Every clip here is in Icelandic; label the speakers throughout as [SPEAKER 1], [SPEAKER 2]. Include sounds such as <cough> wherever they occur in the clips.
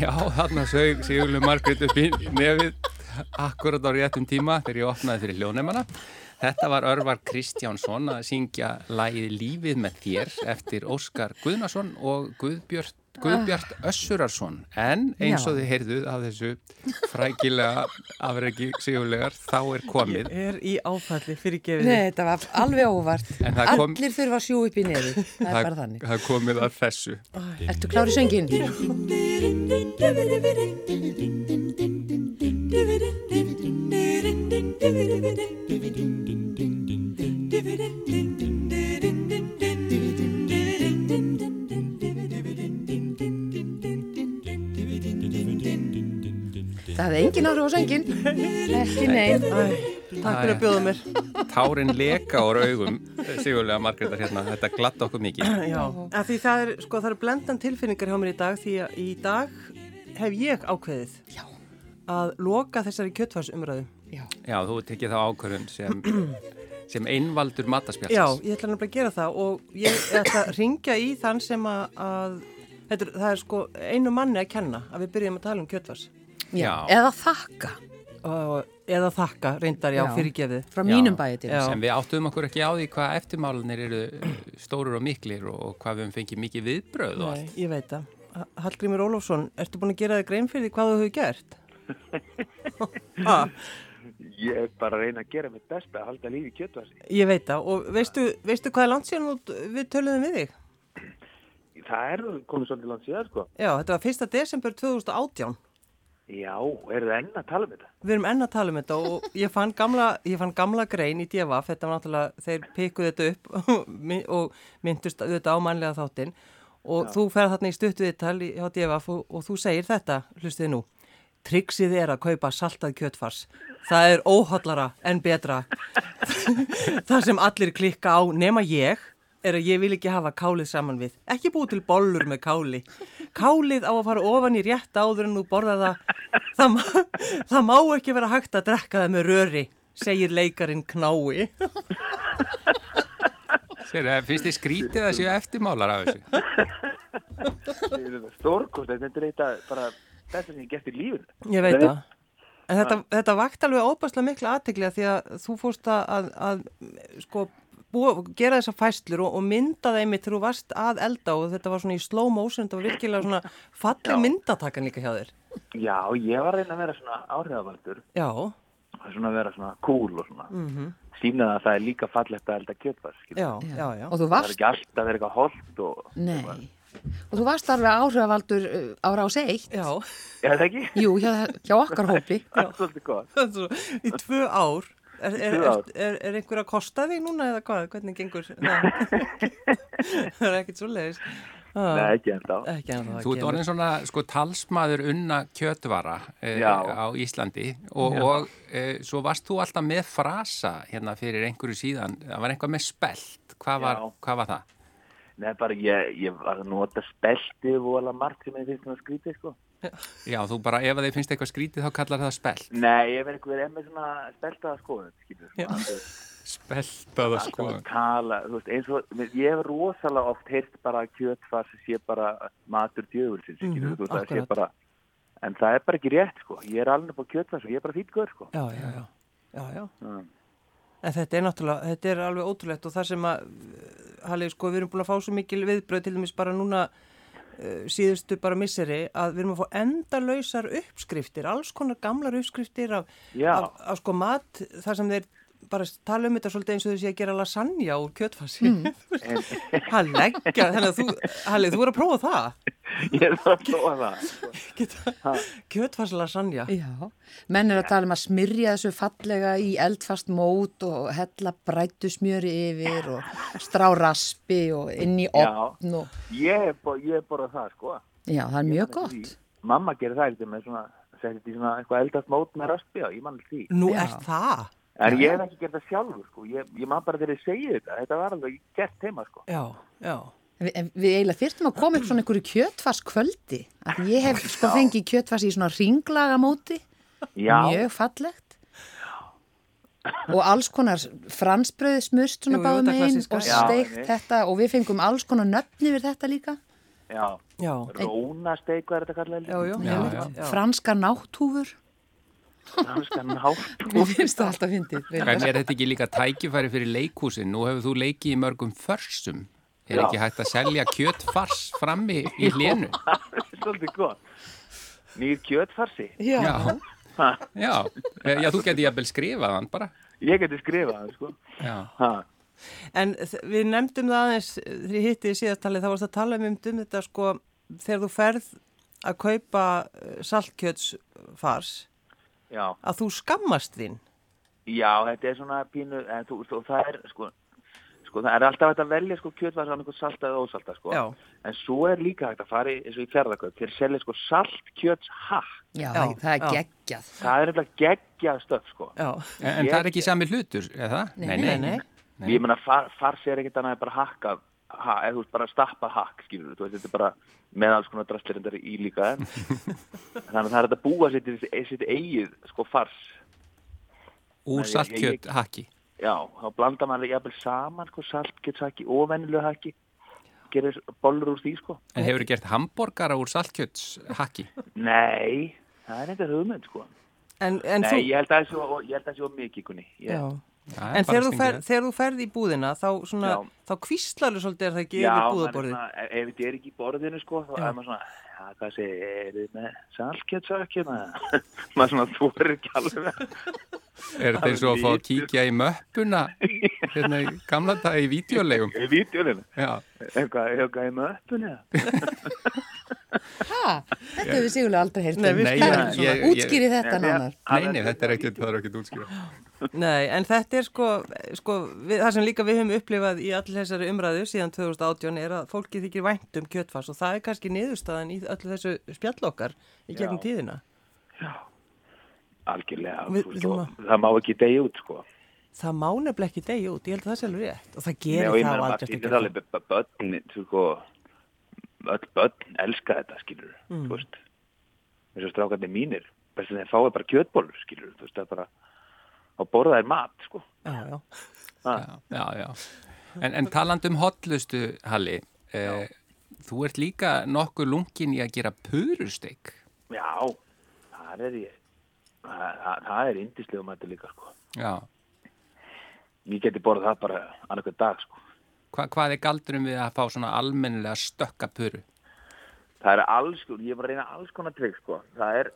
[SPEAKER 1] Já, þarna sög Sigurlu Margrét upp í nefið akkurat á réttum tíma þegar ég opnaði fyrir hljóðnefana. Þetta var Örvar Kristjánsson að syngja lægið Lífið með þér eftir Óskar Guðnason og Guðbjörn Guðbjart Össurarsson en eins og
[SPEAKER 2] Ah. Já.
[SPEAKER 1] þið heyrðuð af þessu frækilega afregi sigurlegar þá er komið
[SPEAKER 3] er í áfalli fyrir
[SPEAKER 2] Nei, þetta var alveg óvart.
[SPEAKER 1] En það kom-
[SPEAKER 2] Allir þurfa að sjú upp í nefi. Það er bara þannig.
[SPEAKER 1] það er komið að þessu
[SPEAKER 2] Ertu klári söngin? Það hefði engin áhrif á söngin. Ekki neinn.
[SPEAKER 3] Takk fyrir að bjóða mér
[SPEAKER 1] tárin leka úr augum sigurlega Margreðar hérna, þetta glatt okkur mikið
[SPEAKER 3] Já, af því það er, sko, það er blendan tilfinningar hjá mér í dag því að í dag hef ég ákveðið
[SPEAKER 2] Já.
[SPEAKER 3] að loka þessari kjöttfarsumræðu.
[SPEAKER 2] Já.
[SPEAKER 1] Já, þú tekið þá ákvörðun sem, sem einvaldur
[SPEAKER 3] Já,
[SPEAKER 1] mataspjallins
[SPEAKER 3] ég ætla nefnilega að gera það og ég ætla að ringja í þann sem að, að þetta, er- það er sko einu manni að kenna að við byrjum að tala um kjöttfars
[SPEAKER 1] Já.
[SPEAKER 2] Eða þakka
[SPEAKER 3] og, eða þakka reyndar, já,
[SPEAKER 2] Já.
[SPEAKER 3] fyrirgefið.
[SPEAKER 2] frá
[SPEAKER 1] Já.
[SPEAKER 2] mínum bæði til
[SPEAKER 3] Já.
[SPEAKER 2] þess.
[SPEAKER 1] sem við áttum okkur ekki á því hvað eftirmálanir eru eh, stórir og miklir og og hvað við höfum fengið mikið viðbröð og
[SPEAKER 3] Nei,
[SPEAKER 1] allt.
[SPEAKER 3] ég veit það. Ha- Hallgrímur Ólofsson, ertu búin að gera þig grein fyrir því hvað þú hefur gert? <laughs> ha,
[SPEAKER 4] Ég er bara að reyna að gera mitt besta að halda lífi í kjötvarsi.
[SPEAKER 3] ég veit það og veistu, veistu hvað er langt síðan þú- við töluðum við þig?
[SPEAKER 4] Það er komið svolítið langt síðan, sko.
[SPEAKER 3] Já, þetta var 1. desember 2018.
[SPEAKER 4] Já, eru þið enn að tala <laughs> um þetta?
[SPEAKER 3] Við erum enn að tala um þetta og ég fann gamla, ég fann gamla grein í DFF, þetta var náttúrulega, þeir pikkuð þetta upp <laughs> mi- og myndust auðvitað á mannlega þáttinn og þú fer þarna í stuttu viðtal í- hjá DFF og, og þú segir þetta, hlustið nú, triksið er að kaupa saltað kjötfars, það er óhóllara en betra, það sem allir klikka á nema ég er að ég vil ekki hafa kálið saman við. Ekki búið til bollur með káli. Kálið á að fara ofan í rétt áður en þú borða það. Það, má, það má ekki vera hægt að drekka það með röri, segir leikarin knái.
[SPEAKER 1] Sér, eh, finnst þið skrítið að séu eftirmálar af
[SPEAKER 2] <laughs>
[SPEAKER 1] þessu?
[SPEAKER 4] Þetta er stórkost, þetta er eitt að bara besta sem ég hef gert í lífinu.
[SPEAKER 3] Ég veit það. En þetta, þetta vakt alveg óbærslega mikla aðteglega því að þú fórst að, að, að sko, búa, gera þessar fæslur og, og mynda þeim þegar þú varst að elda og þetta var svona í slow motion, þetta var virkilega svona falli myndatakan líka hjá þér.
[SPEAKER 4] Já, ég var að reyna að vera svona áhrifavaldur,
[SPEAKER 3] Já,
[SPEAKER 4] svona að vera svona cool og svona. Mm -hmm. Sýna það að það er líka fallegt að elda kjötvarsi. skilur.
[SPEAKER 3] já, já, já.
[SPEAKER 2] Og þú
[SPEAKER 4] Það er
[SPEAKER 2] varst,
[SPEAKER 4] ekki alltaf, það er eitthvað holdt og...
[SPEAKER 2] nei, og þú varst alveg áhrifavaldur uh, á rás 1,
[SPEAKER 3] Já, <laughs>
[SPEAKER 4] Er það ekki?
[SPEAKER 2] jú, hjá, hjá okkar hópi.
[SPEAKER 4] <laughs> Það er svolítið gott.
[SPEAKER 3] Svo, í tvö ár. Er, er,
[SPEAKER 4] tvö
[SPEAKER 3] er,
[SPEAKER 4] ár.
[SPEAKER 3] er, er einhver að kosta þig núna eða hvað? Hvernig
[SPEAKER 4] <laughs>
[SPEAKER 3] gengur? Það <laughs> það er ekkert svo leiðis.
[SPEAKER 4] Nei, ekki ennþá.
[SPEAKER 3] Ekki en það
[SPEAKER 1] Þú ert orðin svona sko talsmaður unna kjötvara e,
[SPEAKER 4] Já.
[SPEAKER 1] á Íslandi og, og e, svo varst þú alltaf með frasa hérna fyrir einhverju síðan, það var eitthvað með spelt, hvað var,
[SPEAKER 4] Já.
[SPEAKER 1] hvað var það?
[SPEAKER 4] Nei, bara ég, ég var að nota spelti og alveg margt sem ég finnst svona skrítið, sko.
[SPEAKER 1] Já, þú bara, ef að þið finnst eitthvað skrítið þá kallar það spelt.
[SPEAKER 4] Nei, ég verð einhver enn með svona speltaða skoðun, skilur. Svona, þú veist,
[SPEAKER 1] Speltaða
[SPEAKER 4] Alltaf að Sko, tala, þú veist, eins og, ég hef rosalega oft heyrt bara að kjötfars sé bara matur djöfulsins, skilur,
[SPEAKER 3] Mhm,
[SPEAKER 4] þú veist, það sé
[SPEAKER 3] akkurat.
[SPEAKER 4] bara, en það er bara ekki rétt, sko. Ég er alveg upp á kjötfars og ég er bara fýtgur, sko. <laughs>
[SPEAKER 3] Já, já, já. já, já. En þetta er náttúrulega, þetta er alveg ótrúlegt og það sem að, uh, Halli, sko, við erum búin að fá svo mikil viðbröð til dæmis bara núna uh, síðustu bara misseri að við erum að fá endalausar uppskriftir, alls konar gamlar uppskriftir af,
[SPEAKER 4] Já.
[SPEAKER 3] af, af sko mat, þar sem þeir bara tala um þetta svolítið eins og þessi að gera lasagna úr kjötfassi. <laughs> Mm. Halli, ekki, þannig að þú, Halli, þú er að prófa það.
[SPEAKER 4] Ég er bara að prófa það. sko.
[SPEAKER 3] Geta- Kjötfass lasagna.
[SPEAKER 2] Já, menn er að tala um að smyrja þessu fallega í eldfast mót og hella brættu smjöri yfir og strá raspi og inn í opn og,
[SPEAKER 4] Ég hef bo- ég hef borðað það, sko.
[SPEAKER 2] já, það er
[SPEAKER 4] Ég
[SPEAKER 2] mjög
[SPEAKER 4] man eftir
[SPEAKER 2] gott.
[SPEAKER 4] því. Mamma gerir það eitthvað með svona, setti þetta í svona eitthvað eldast mót með raspi á, ég mann því.
[SPEAKER 3] Nú
[SPEAKER 2] Já.
[SPEAKER 3] er það.
[SPEAKER 4] En ég hef ekki gert það sjálfur, sko. Ég, ég man bara þegar ég segi þetta, þetta var alveg gert heima, sko.
[SPEAKER 3] Já, já.
[SPEAKER 2] En Við, en við eiginlega þyrftum að koma upp svona einhverju kjötfars kvöldi. Ég hef sko fengið kjötfars í svona ringlaga móti,
[SPEAKER 4] Já,
[SPEAKER 2] mjög fallegt. Og alls konar fransbröði smurst svona
[SPEAKER 3] Jú, jú,
[SPEAKER 2] báðum
[SPEAKER 3] þetta
[SPEAKER 2] einn
[SPEAKER 3] klassíska.
[SPEAKER 2] og
[SPEAKER 3] Já,
[SPEAKER 2] steikt
[SPEAKER 4] einmitt.
[SPEAKER 2] þetta og við fengum alls konar nöfni við þetta líka.
[SPEAKER 4] já,
[SPEAKER 3] Já,
[SPEAKER 4] rónasteik, hvað er þetta kallað?
[SPEAKER 3] já, já,
[SPEAKER 1] Já,
[SPEAKER 3] einmitt,
[SPEAKER 1] já.
[SPEAKER 3] já.
[SPEAKER 2] franska nátthúfur
[SPEAKER 4] Franska nátt.
[SPEAKER 2] mér
[SPEAKER 3] <laughs>
[SPEAKER 2] finnst það alltaf fyndið
[SPEAKER 1] En
[SPEAKER 2] reyndar.
[SPEAKER 1] er þetta ekki líka tækifæri fyrir leikhúsin? Nú hefur þú leikið í mörgum försum. Er
[SPEAKER 4] Já.
[SPEAKER 1] ekki hægt að selja kjötfars frammi í hlénu?
[SPEAKER 4] Svolítið gott. Nýr kjötfarsi.
[SPEAKER 2] Já,
[SPEAKER 1] Já. Já. Eh, Já, þú geti jafnvel skrifað hann bara.
[SPEAKER 4] Ég geti skrifað það, sko.
[SPEAKER 1] Já.
[SPEAKER 4] Ha.
[SPEAKER 3] En þ- við nefndum það aðeins, þegar ég hitti í síðastalið, þá varst að tala um, um þetta sko, þegar þú ferð að kaupa eh, saltkjötsfars,
[SPEAKER 4] Já.
[SPEAKER 3] að þú skammast þín.
[SPEAKER 4] Já, þetta er svona pínu, en þú, þú, það er sko, sko, það er alltaf hægt að velja sko kjötvarsan eitthvað salta eða ósalta sko.
[SPEAKER 3] Já.
[SPEAKER 4] En svo er líka hægt að fara í, eins og í ferðarkaup, þeir selja sko saltkjötshakk.
[SPEAKER 2] já,
[SPEAKER 3] Já,
[SPEAKER 2] það það er
[SPEAKER 3] já.
[SPEAKER 2] geggjað.
[SPEAKER 4] Það er nefnilega geggjað stöf sko.
[SPEAKER 3] Já,
[SPEAKER 1] En, en það er ekki sami hlutur, er það?
[SPEAKER 2] Nei,
[SPEAKER 3] nei, nei.
[SPEAKER 4] Ég meina far, fars er ekkert annað en bara hakka, ha, eða þú veist bara stappa hakk, skilur þú veist, þetta er bara með alls konar drastlirindar í líka.
[SPEAKER 3] <laughs>
[SPEAKER 4] en- Þannig að það er hægt að búa sitt, sitt eigið sko fars.
[SPEAKER 1] Úr
[SPEAKER 4] Nei, ég- ég-
[SPEAKER 1] saltkjöt haki.
[SPEAKER 4] Já, þá blandar maður jafnvel saman sko, saltkjötshaki og vennilega haki gerir bollur úr því sko
[SPEAKER 1] En hefur gert hambúrgara úr saltkjöts haki?
[SPEAKER 4] Nei, það er eitthvað hugmynd sko
[SPEAKER 3] En, en
[SPEAKER 4] Nei,
[SPEAKER 3] þú,
[SPEAKER 4] ég held að það sé of- ég held að það sé of mikið kunni
[SPEAKER 3] já.
[SPEAKER 4] ég,
[SPEAKER 1] Það er bara
[SPEAKER 3] En þegar þú, fer,
[SPEAKER 1] stingilegt.
[SPEAKER 3] þegar þú ferð í búðina, þá, svona,
[SPEAKER 4] Já.
[SPEAKER 3] þá kvíslarðu svolítið er það ekki
[SPEAKER 4] Já,
[SPEAKER 3] yfir
[SPEAKER 4] maður er
[SPEAKER 3] búðaborðið.
[SPEAKER 4] svona, ef ef þetta er ekki í borðinu sko þá
[SPEAKER 3] Já.
[SPEAKER 4] er maður svona, já, hvað segir er þið með saltkjötshaki maður <laughs> Maður svona þorir ekki alveg
[SPEAKER 3] <laughs>
[SPEAKER 1] Er þetta eins og að fá að kíkja í möppuna hérna í gamla dag í vídeolegum?
[SPEAKER 4] í vítjólinu,
[SPEAKER 1] Já.
[SPEAKER 4] eitthvað, eitthvað í möppunni
[SPEAKER 2] Ha, þetta hefur sigurlega aldrei heyrt.
[SPEAKER 3] Nei,
[SPEAKER 2] um.
[SPEAKER 3] við
[SPEAKER 1] Nei,
[SPEAKER 2] Það er
[SPEAKER 1] ég-
[SPEAKER 2] svona,
[SPEAKER 1] ég- ég-
[SPEAKER 2] Útskýri þetta nánar.
[SPEAKER 1] Nei, nei, þetta er ekkert, það er ekkert útskýra.
[SPEAKER 3] Nei, en þetta er sko, sko við, það sem líka við höfum upplifað í allir þessari umræðu síðan 2018 er að fólki þykir vænt um kjötfars og það er kannski niðurstaðan í öllu þessu spjall okkar í gegnum
[SPEAKER 4] Já.
[SPEAKER 3] tíðina.
[SPEAKER 4] Algjörlega,
[SPEAKER 3] Við-
[SPEAKER 4] þú veist,
[SPEAKER 3] við-
[SPEAKER 4] og það má ekki degja út sko
[SPEAKER 3] Það má nefnilega ekki degi út, ég held að það sé alveg rétt og það
[SPEAKER 4] Nei, og
[SPEAKER 3] gerir
[SPEAKER 4] ég
[SPEAKER 3] það á
[SPEAKER 4] meina, maður
[SPEAKER 3] aldrei
[SPEAKER 4] skilur alveg b- börn, þú sko, öll börn elska þetta, skilur, þú veist. Þessu strákandi mínir, best að þeir fáið bara kjötbólur, skilur, þú veist, það er bara, og borða þeir mat, sko.
[SPEAKER 3] Já, já.
[SPEAKER 1] Já, já, já. En, en taland um hotlustu, Halli, eh, þú ert líka nokkuð lungin í að gera purusteik.
[SPEAKER 4] Já, það er ég, það, það- það er indislega mæti líka, sko.
[SPEAKER 1] Já.
[SPEAKER 4] Ég geti borðað það bara annarkvæð dag, sko.
[SPEAKER 1] Hva, hvað er galdurum við að fá svona almennilega stökka puru?
[SPEAKER 4] Það er alls, sko, ég var að reyna alls konar trygg, sko. Það er,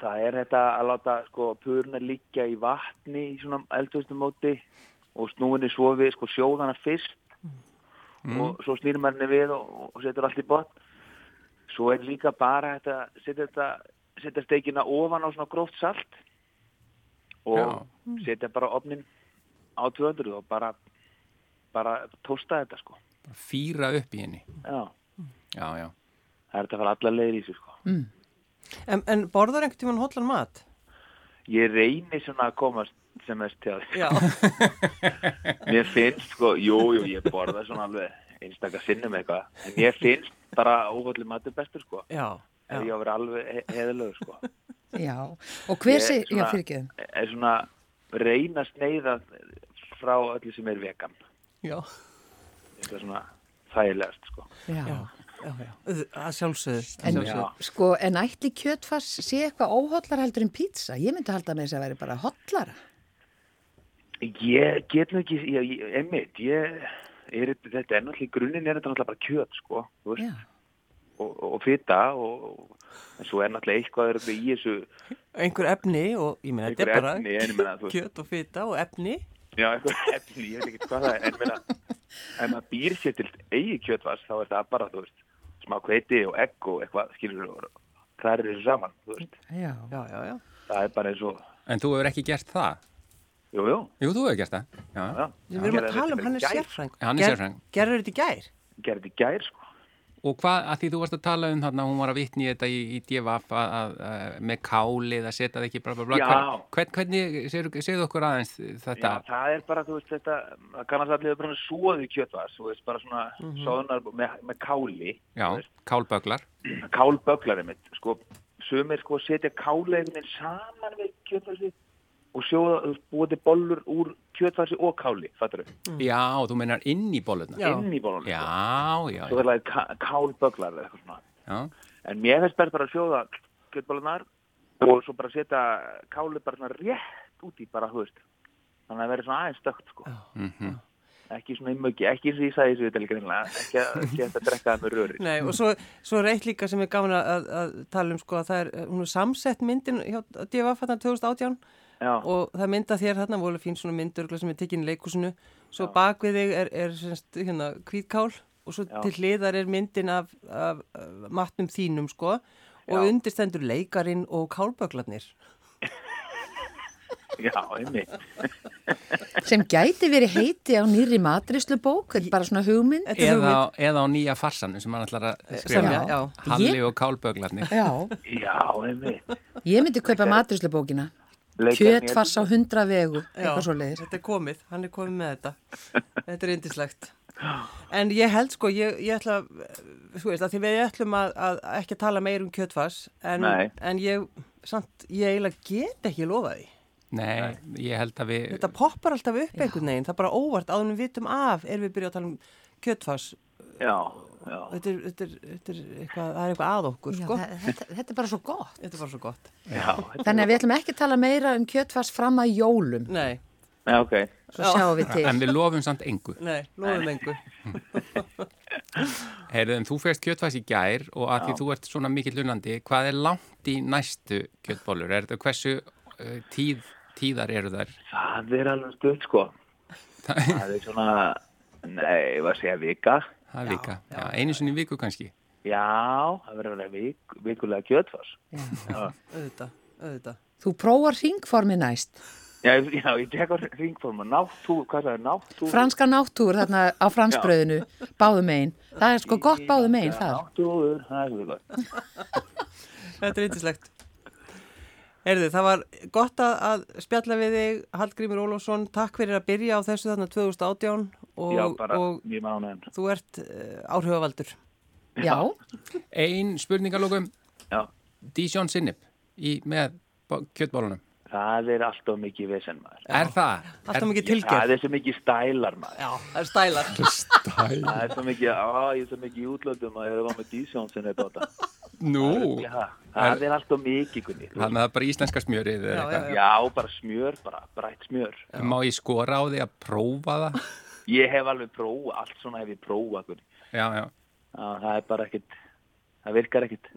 [SPEAKER 4] það er þetta að láta, sko, puruna liggja í vatni í svona eldhustum móti og snúinni svo við, sko, sjóðana fyrst og svo snýr maður henni við og, og setur allt í botn. Svo er líka bara þetta, setja þetta, setja steikina ofan á svona gróft salt og
[SPEAKER 1] Já.
[SPEAKER 4] setja bara opnin á 200 og bara, bara tósta þetta, sko.
[SPEAKER 1] Fýra upp í henni.
[SPEAKER 4] Já,
[SPEAKER 1] Já, já.
[SPEAKER 4] það er þetta að fara allar leiðir í þessu, sko.
[SPEAKER 3] En, en borðar einhvern tíman hotlan mat?
[SPEAKER 4] Ég reyni svona að komast sem mest til að
[SPEAKER 3] Já.
[SPEAKER 4] mér finnst sko, jú, jú, ég borða svona alveg einstakar sinnum eitthvað, en ég finnst bara óhaldið matur bestur sko,
[SPEAKER 3] <laughs> já,
[SPEAKER 4] ef ég á að vera alveg he heðalögur sko.
[SPEAKER 2] Já, og hver
[SPEAKER 4] Ég
[SPEAKER 2] segir, já,
[SPEAKER 4] svona-
[SPEAKER 2] fyrirgeðum.
[SPEAKER 4] Er svona reyna að sneiða frá öllu sem er vegan,
[SPEAKER 3] já,
[SPEAKER 4] þetta er svona þægilegast sko.
[SPEAKER 2] Já.
[SPEAKER 3] já, já, já. Að sjálfsögðu. að
[SPEAKER 2] En,
[SPEAKER 3] sjálfsögðu.
[SPEAKER 2] sko, en ætli kjötfars sé eitthvað óhóllar heldur en pizza? Ég myndi halda með þess að væri bara hóllara.
[SPEAKER 4] Ég get nú ekki, ég, ég, einmitt, ég er, þetta er náttúrulega, í grunninn er þetta náttúrulega bara kjöt sko, þú veist,
[SPEAKER 2] Já,
[SPEAKER 4] og, og fita og, og en svo er náttúrulega eitthvað er í þessu
[SPEAKER 3] Einhver efni og, ég meina, þetta
[SPEAKER 4] einhver
[SPEAKER 3] er bara
[SPEAKER 4] efni, en ég meina, þú veist,
[SPEAKER 3] kjöt og fita og efni.
[SPEAKER 4] Já, einhver efni, ég veit ekki hvað það er, en meina, ef maður býr sér til eigi kjötvars, þá er það bara, þú veist, smá kveiti og egg og eitthvað, skilur þú, það eru þessu saman, þú veist,
[SPEAKER 2] já.
[SPEAKER 3] Já, já, já.
[SPEAKER 4] það er bara eins og,
[SPEAKER 1] En þú hefur ekki gert það?
[SPEAKER 4] jú, jú,
[SPEAKER 1] Jú, þú hefur gert það. Já,
[SPEAKER 4] já.
[SPEAKER 3] Við erum að tala um hann er sérfræng.
[SPEAKER 1] Hann er sérfræðingur.
[SPEAKER 3] Gerður þetta í gær?
[SPEAKER 4] Gerði þetta í gær, sko.
[SPEAKER 1] Og hvað, að því þú varst að tala um þarna, hún var að vitni í þetta í, í DFF að, að, að, með kálið að setja það ekki bla bla bla.
[SPEAKER 4] Já.
[SPEAKER 1] Hvern, hvernig, segðu segðu okkur aðeins
[SPEAKER 4] Já,
[SPEAKER 1] þetta?
[SPEAKER 4] það er bara, þú veist, þetta, það kannast allir bara svoði kjötvars, þú veist, bara svona mm
[SPEAKER 3] Mhm.
[SPEAKER 4] með, með káli,
[SPEAKER 1] Já,
[SPEAKER 4] þú veist,
[SPEAKER 1] kálböglar.
[SPEAKER 4] kálböglarið mitt, sko, sumir, sko, setja kála einhvern veginn saman við kjötvarsi og sjóða, þú veist, búið til bollur úr kjötfarsi og káli, fattur þau?
[SPEAKER 1] Já, þú meinar inn í bólurna.
[SPEAKER 3] Já.
[SPEAKER 4] Inn í bólunum.
[SPEAKER 1] já, já.
[SPEAKER 4] Svo verður það kálböglar eða eitthvað svona.
[SPEAKER 1] já.
[SPEAKER 4] En mér finnst bara bara að sjóða kjötbólunar og svo bara setja kálið bara svona rétt út í bara, þú veist. Þannig að það verður svona aðeins stökt, sko.
[SPEAKER 1] mhm.
[SPEAKER 4] Ekki svona í möggi, ekki eins og ég sagði þessu við telgrinlega, ekki að ekki hægt að drekka það með röri.
[SPEAKER 3] Nei, og svo, svo er eitt líka sem er gaman að, að tala um sko að það er, hún er samsett myndin hjá DFF þarna 2018
[SPEAKER 4] Já,
[SPEAKER 3] og það mynda þér þarna voru fín svona myndur örugglega sem er tekinn í leikusinu, svo bak við þig er, er semst, hérna, kvítkál og svo
[SPEAKER 4] Já.
[SPEAKER 3] til hliðar er myndin af, af, af matnum þínum sko og
[SPEAKER 4] Já.
[SPEAKER 3] undirstendur leikarin og kálböglarnir.
[SPEAKER 4] já, einmitt.
[SPEAKER 2] sem gæti verið heiti á nýri matrislu bók, bara svona hugmynd.
[SPEAKER 3] Þetta er
[SPEAKER 1] Eða,
[SPEAKER 3] hugmynd.
[SPEAKER 1] á- eða á nýja farsanu sem hann ætlar að skrifa.
[SPEAKER 3] Semja, já.
[SPEAKER 1] Halli og kálböglarnir.
[SPEAKER 2] Já,
[SPEAKER 4] Já, einmitt.
[SPEAKER 2] ég myndi kaupa matrislu bókina.
[SPEAKER 4] Leikarnir-
[SPEAKER 2] Kjötfars á hundra vegu, eitthvað svo leiðis.
[SPEAKER 3] Þetta er komið, hann er komið með þetta. Þetta er indislegt. En ég held sko, ég, ég ætla, að- þú veist, að því við ætlum að, að ekki tala meir um kjötfars, en,
[SPEAKER 4] Nei.
[SPEAKER 3] en ég, samt, ég eiginlega get ekki lofa því.
[SPEAKER 1] Nei, ég held að við...
[SPEAKER 3] Þetta poppar alltaf upp einhvern veginn, það er bara óvart, áðunum vitum af, erum við byrjað að tala um kjötfars.
[SPEAKER 4] Já, já.
[SPEAKER 3] Þetta er, þetta er, þetta er eitthvað, það er eitthvað að okkur,
[SPEAKER 2] Já,
[SPEAKER 3] sko.
[SPEAKER 2] þa- þetta, þetta er bara svo gott.
[SPEAKER 3] Þetta var svo gott.
[SPEAKER 4] Já,
[SPEAKER 2] Þannig að við ætlum ekki að tala meira um kjötfars fram að jólum.
[SPEAKER 3] Nei,
[SPEAKER 4] já, ok.
[SPEAKER 2] Svo
[SPEAKER 3] Já.
[SPEAKER 2] sjáum við til.
[SPEAKER 1] En við lofum samt engu.
[SPEAKER 3] nei, lofum engu.
[SPEAKER 1] Heyrðu, en þú fegst kjötfæs í gær og að því þú ert svona mikill unandi, hvað er langt í næstu kjötbólur? Er þetta hversu uh, tíð, tíðar eru þær?
[SPEAKER 4] Það er alveg stöld, sko. Það er svona, nei, hvað segja, vika.
[SPEAKER 1] Það er vika. Já, einu sinni í viku kannski.
[SPEAKER 4] Já, það verður að vera vik, vikulega kjötfars.
[SPEAKER 3] Auðvitað, auðvitað.
[SPEAKER 2] Þú prófar ringformi næst.
[SPEAKER 4] Já, ég- já, ég tek á ringforma, náttú, hvað það er náttú?
[SPEAKER 2] Franska náttúr þarna á fransbröðinu, báðum einn. Það er sko gott báðum einn þar.
[SPEAKER 4] Náttúður, það er svo gott.
[SPEAKER 3] Þetta er yndislegt. Erðu, það var gott að, að spjalla við þig, Hallgrímur Ólofsson, takk fyrir að byrja á þessu þarna 2018 og,
[SPEAKER 4] Já, bara
[SPEAKER 3] og
[SPEAKER 4] mjög mánuðin.
[SPEAKER 3] þú ert uh, áhrifavaldur.
[SPEAKER 2] Já,
[SPEAKER 1] Ein spurningalókum,
[SPEAKER 4] Já,
[SPEAKER 1] Dijon Sinnip í, með bó- kjötbólunum.
[SPEAKER 4] það er alltaf mikið vesen maður.
[SPEAKER 1] Er það?
[SPEAKER 3] Alltaf mikið
[SPEAKER 4] Það
[SPEAKER 3] tilgerð.
[SPEAKER 4] er svo mikið stælar maður.
[SPEAKER 3] Já, það er stælar.
[SPEAKER 1] Stæl.
[SPEAKER 4] Það er svo mikið, á, ég er svo mikið í útlöndum að ég er að vera með dísjón sem þetta á þetta.
[SPEAKER 1] Nú,
[SPEAKER 4] Það er alltaf mikið, Gunni.
[SPEAKER 1] þannig að það er bara íslenska smjörið eða
[SPEAKER 3] Já, já,
[SPEAKER 1] eitthvað.
[SPEAKER 4] Já, bara smjör, bara brætt smjör.
[SPEAKER 1] Má ég skora á því að prófa það?
[SPEAKER 4] Ég hef alveg prófa, allt svona hef ég prófa, Gunni.
[SPEAKER 1] Já, já.
[SPEAKER 4] Já, það er bara ekkit, það virkar ekkit.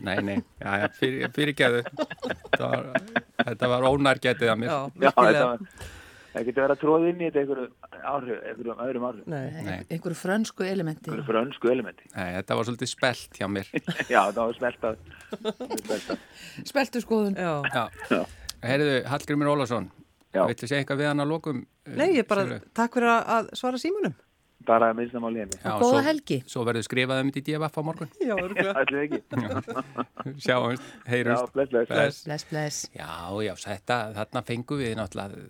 [SPEAKER 1] Nei, nei, já, já, fyrir, fyrirgeðu. Þetta var, þetta var ónærgetið að mér.
[SPEAKER 3] Já,
[SPEAKER 4] Já, þetta
[SPEAKER 3] virkilega.
[SPEAKER 4] var, það getur verið að tróða inn í þetta einhverjum áhrif, einhverjum öðrum áhrif.
[SPEAKER 3] Nei,
[SPEAKER 1] Nei.
[SPEAKER 2] einhverju frönsku elementi.
[SPEAKER 4] Einhverjum frönsku elementi.
[SPEAKER 1] Nei, þetta var svolítið spelt hjá mér.
[SPEAKER 4] Já, það var smeltað. smeltað.
[SPEAKER 2] Speltu skoðun.
[SPEAKER 3] já.
[SPEAKER 1] Já. Herðu, Hallgrimur Ólásson,
[SPEAKER 4] Já.
[SPEAKER 1] villu segja eitthvað við hann að lokum? eh,
[SPEAKER 3] Nei, ég bara,
[SPEAKER 1] Silvia?
[SPEAKER 3] takk fyrir að- að svara símunum.
[SPEAKER 4] Bara að minnst það máli henni.
[SPEAKER 1] Já,
[SPEAKER 2] og góða
[SPEAKER 1] svo-
[SPEAKER 2] helgi.
[SPEAKER 1] Svo verður skrifað um þetta í DFF á morgun. <laughs>
[SPEAKER 3] Já, örgulega.
[SPEAKER 4] Ætlum við ekki.
[SPEAKER 1] Sjáumst,
[SPEAKER 4] Já,
[SPEAKER 1] heyrumst.
[SPEAKER 4] bless, bless.
[SPEAKER 1] Bless.
[SPEAKER 2] Bless, bless.
[SPEAKER 1] Já, já, þetta, þarna fengum við náttúrulega,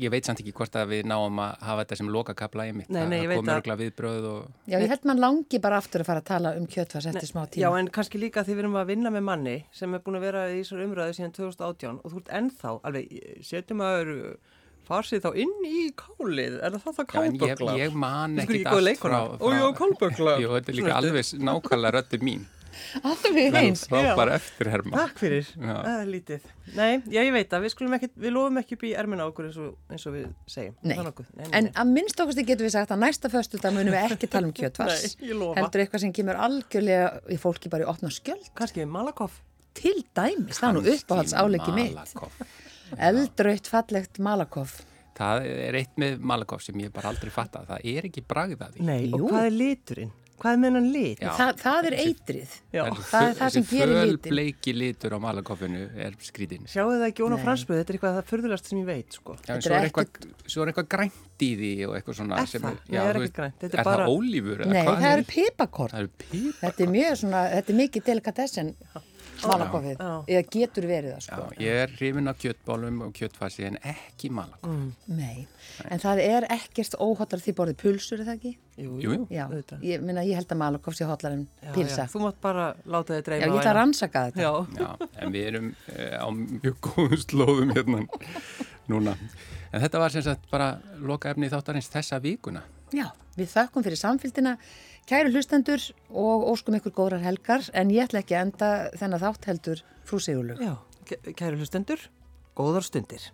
[SPEAKER 1] ég veit samt ekki hvort að við náum að hafa þetta sem lokakabla í mitt.
[SPEAKER 3] Nei, nei, ég veit
[SPEAKER 1] það.
[SPEAKER 3] að-
[SPEAKER 1] Það komur viðbröð og,
[SPEAKER 2] Já, ég held mann langi bara aftur að fara að tala um kjötfars eftir smá
[SPEAKER 3] Já,
[SPEAKER 2] tíma.
[SPEAKER 3] en kannski líka því við erum að vinna með manni sem er búin að vera í þessar umræðu síðan 2018 og þú ert ennþá, alveg, setjum að eru farsið þá inn í kálið, er það þá það
[SPEAKER 1] já, en ég,
[SPEAKER 3] kálböglar?
[SPEAKER 1] ég man
[SPEAKER 3] Þú skur
[SPEAKER 1] ekki
[SPEAKER 3] ekki góð leikona. Ó, já, kálböglar.
[SPEAKER 1] Jú, þetta er líka alveg nákvæmlega röddi
[SPEAKER 3] <laughs>
[SPEAKER 1] mín.
[SPEAKER 2] <laughs> Alveg eins.
[SPEAKER 1] Frábær eftirherma.
[SPEAKER 3] Takk fyrir,
[SPEAKER 1] Já.
[SPEAKER 3] það er lítið. Nei, já, ég veit að við, skulum ekki, við lofum ekki upp í ermina á okkur eins og, eins og við segjum.
[SPEAKER 2] Nei.
[SPEAKER 3] Það er nokkuð. nei, nei,
[SPEAKER 2] En
[SPEAKER 3] nei.
[SPEAKER 2] að minnst okkusti getum við sagt að næsta föstu dag munum við ekki tala um kjötfars.
[SPEAKER 3] <laughs> Nei, ég lofa.
[SPEAKER 2] Heldur eitthvað sem kemur algjörlega í fólki bara í opna skjöld.
[SPEAKER 3] Kannski við Malakoff.
[SPEAKER 2] Til dæmis, það er nú
[SPEAKER 1] Kannski
[SPEAKER 2] uppáhalds álegi mitt.
[SPEAKER 1] Malakoff.
[SPEAKER 2] Eldraut fallegt malakoff.
[SPEAKER 1] Það er eitt með Malakoff sem ég bara aldrei fatta. Það er ekki bragðaði.
[SPEAKER 3] Nei,
[SPEAKER 2] Jú.
[SPEAKER 3] og hvað er liturinn? Hvað er með hennan lit?
[SPEAKER 1] Já.
[SPEAKER 2] Þa, það er eitrið.
[SPEAKER 3] Já.
[SPEAKER 2] það er það sem gerir litinn.
[SPEAKER 1] Þessi fölbleiki litur á Malakoffinu er skrítinn.
[SPEAKER 3] Sjáu það ekki ón á fransbröð, þetta er eitthvað það fyrðulegast sem ég veit, sko.
[SPEAKER 1] Já, en
[SPEAKER 2] Þetta
[SPEAKER 1] svo
[SPEAKER 2] er
[SPEAKER 1] er eitthvað, svo er eitthvað grænt í því og eitthvað svona
[SPEAKER 3] Er
[SPEAKER 1] sem...
[SPEAKER 3] það?
[SPEAKER 1] Já,
[SPEAKER 3] Nei,
[SPEAKER 1] þú
[SPEAKER 3] það er ekkert
[SPEAKER 1] veist,
[SPEAKER 3] grænt. Þetta er
[SPEAKER 1] Er það
[SPEAKER 3] bara-
[SPEAKER 1] ólífur? eða
[SPEAKER 2] Nei,
[SPEAKER 1] hvað
[SPEAKER 2] það eru pipakorn.
[SPEAKER 1] Það eru píp.
[SPEAKER 2] Þetta er mjög svona, þetta er mikið delikatess en Malakoffið,
[SPEAKER 3] Já.
[SPEAKER 2] eða getur verið það sko.
[SPEAKER 1] Já, ég er hrifin af kjötbólum og kjötfasi en ekki malakó.
[SPEAKER 3] Mm.
[SPEAKER 2] Nei, en það er ekkert óhotlar því borðið pulsur, er það ekki?
[SPEAKER 3] Jú,
[SPEAKER 1] Jú, jú.
[SPEAKER 2] Já,
[SPEAKER 3] Auðvitað.
[SPEAKER 2] ég, minna, ég held að malakoff sé hotlar en
[SPEAKER 3] Já,
[SPEAKER 2] pilsa.
[SPEAKER 3] já, Þú mátt bara láta þið
[SPEAKER 2] Já,
[SPEAKER 3] dreima
[SPEAKER 2] ég
[SPEAKER 3] á
[SPEAKER 2] ætla að
[SPEAKER 3] eina.
[SPEAKER 2] rannsaka þetta.
[SPEAKER 3] Já,
[SPEAKER 1] Já, en við erum uh, á mjög góðum <laughs> slóðum hérna núna. En þetta var sem sagt bara loka efni þáttarins þessa vikuna.
[SPEAKER 2] Já, við þakkum fyrir samfélgina, kæru hlustendur og óskum ykkur góðrar helgar en ég ætla ekki að enda þennan þátt heldur frú Sigurlaug.
[SPEAKER 3] já. Kæru hlustendur, góðar stundir.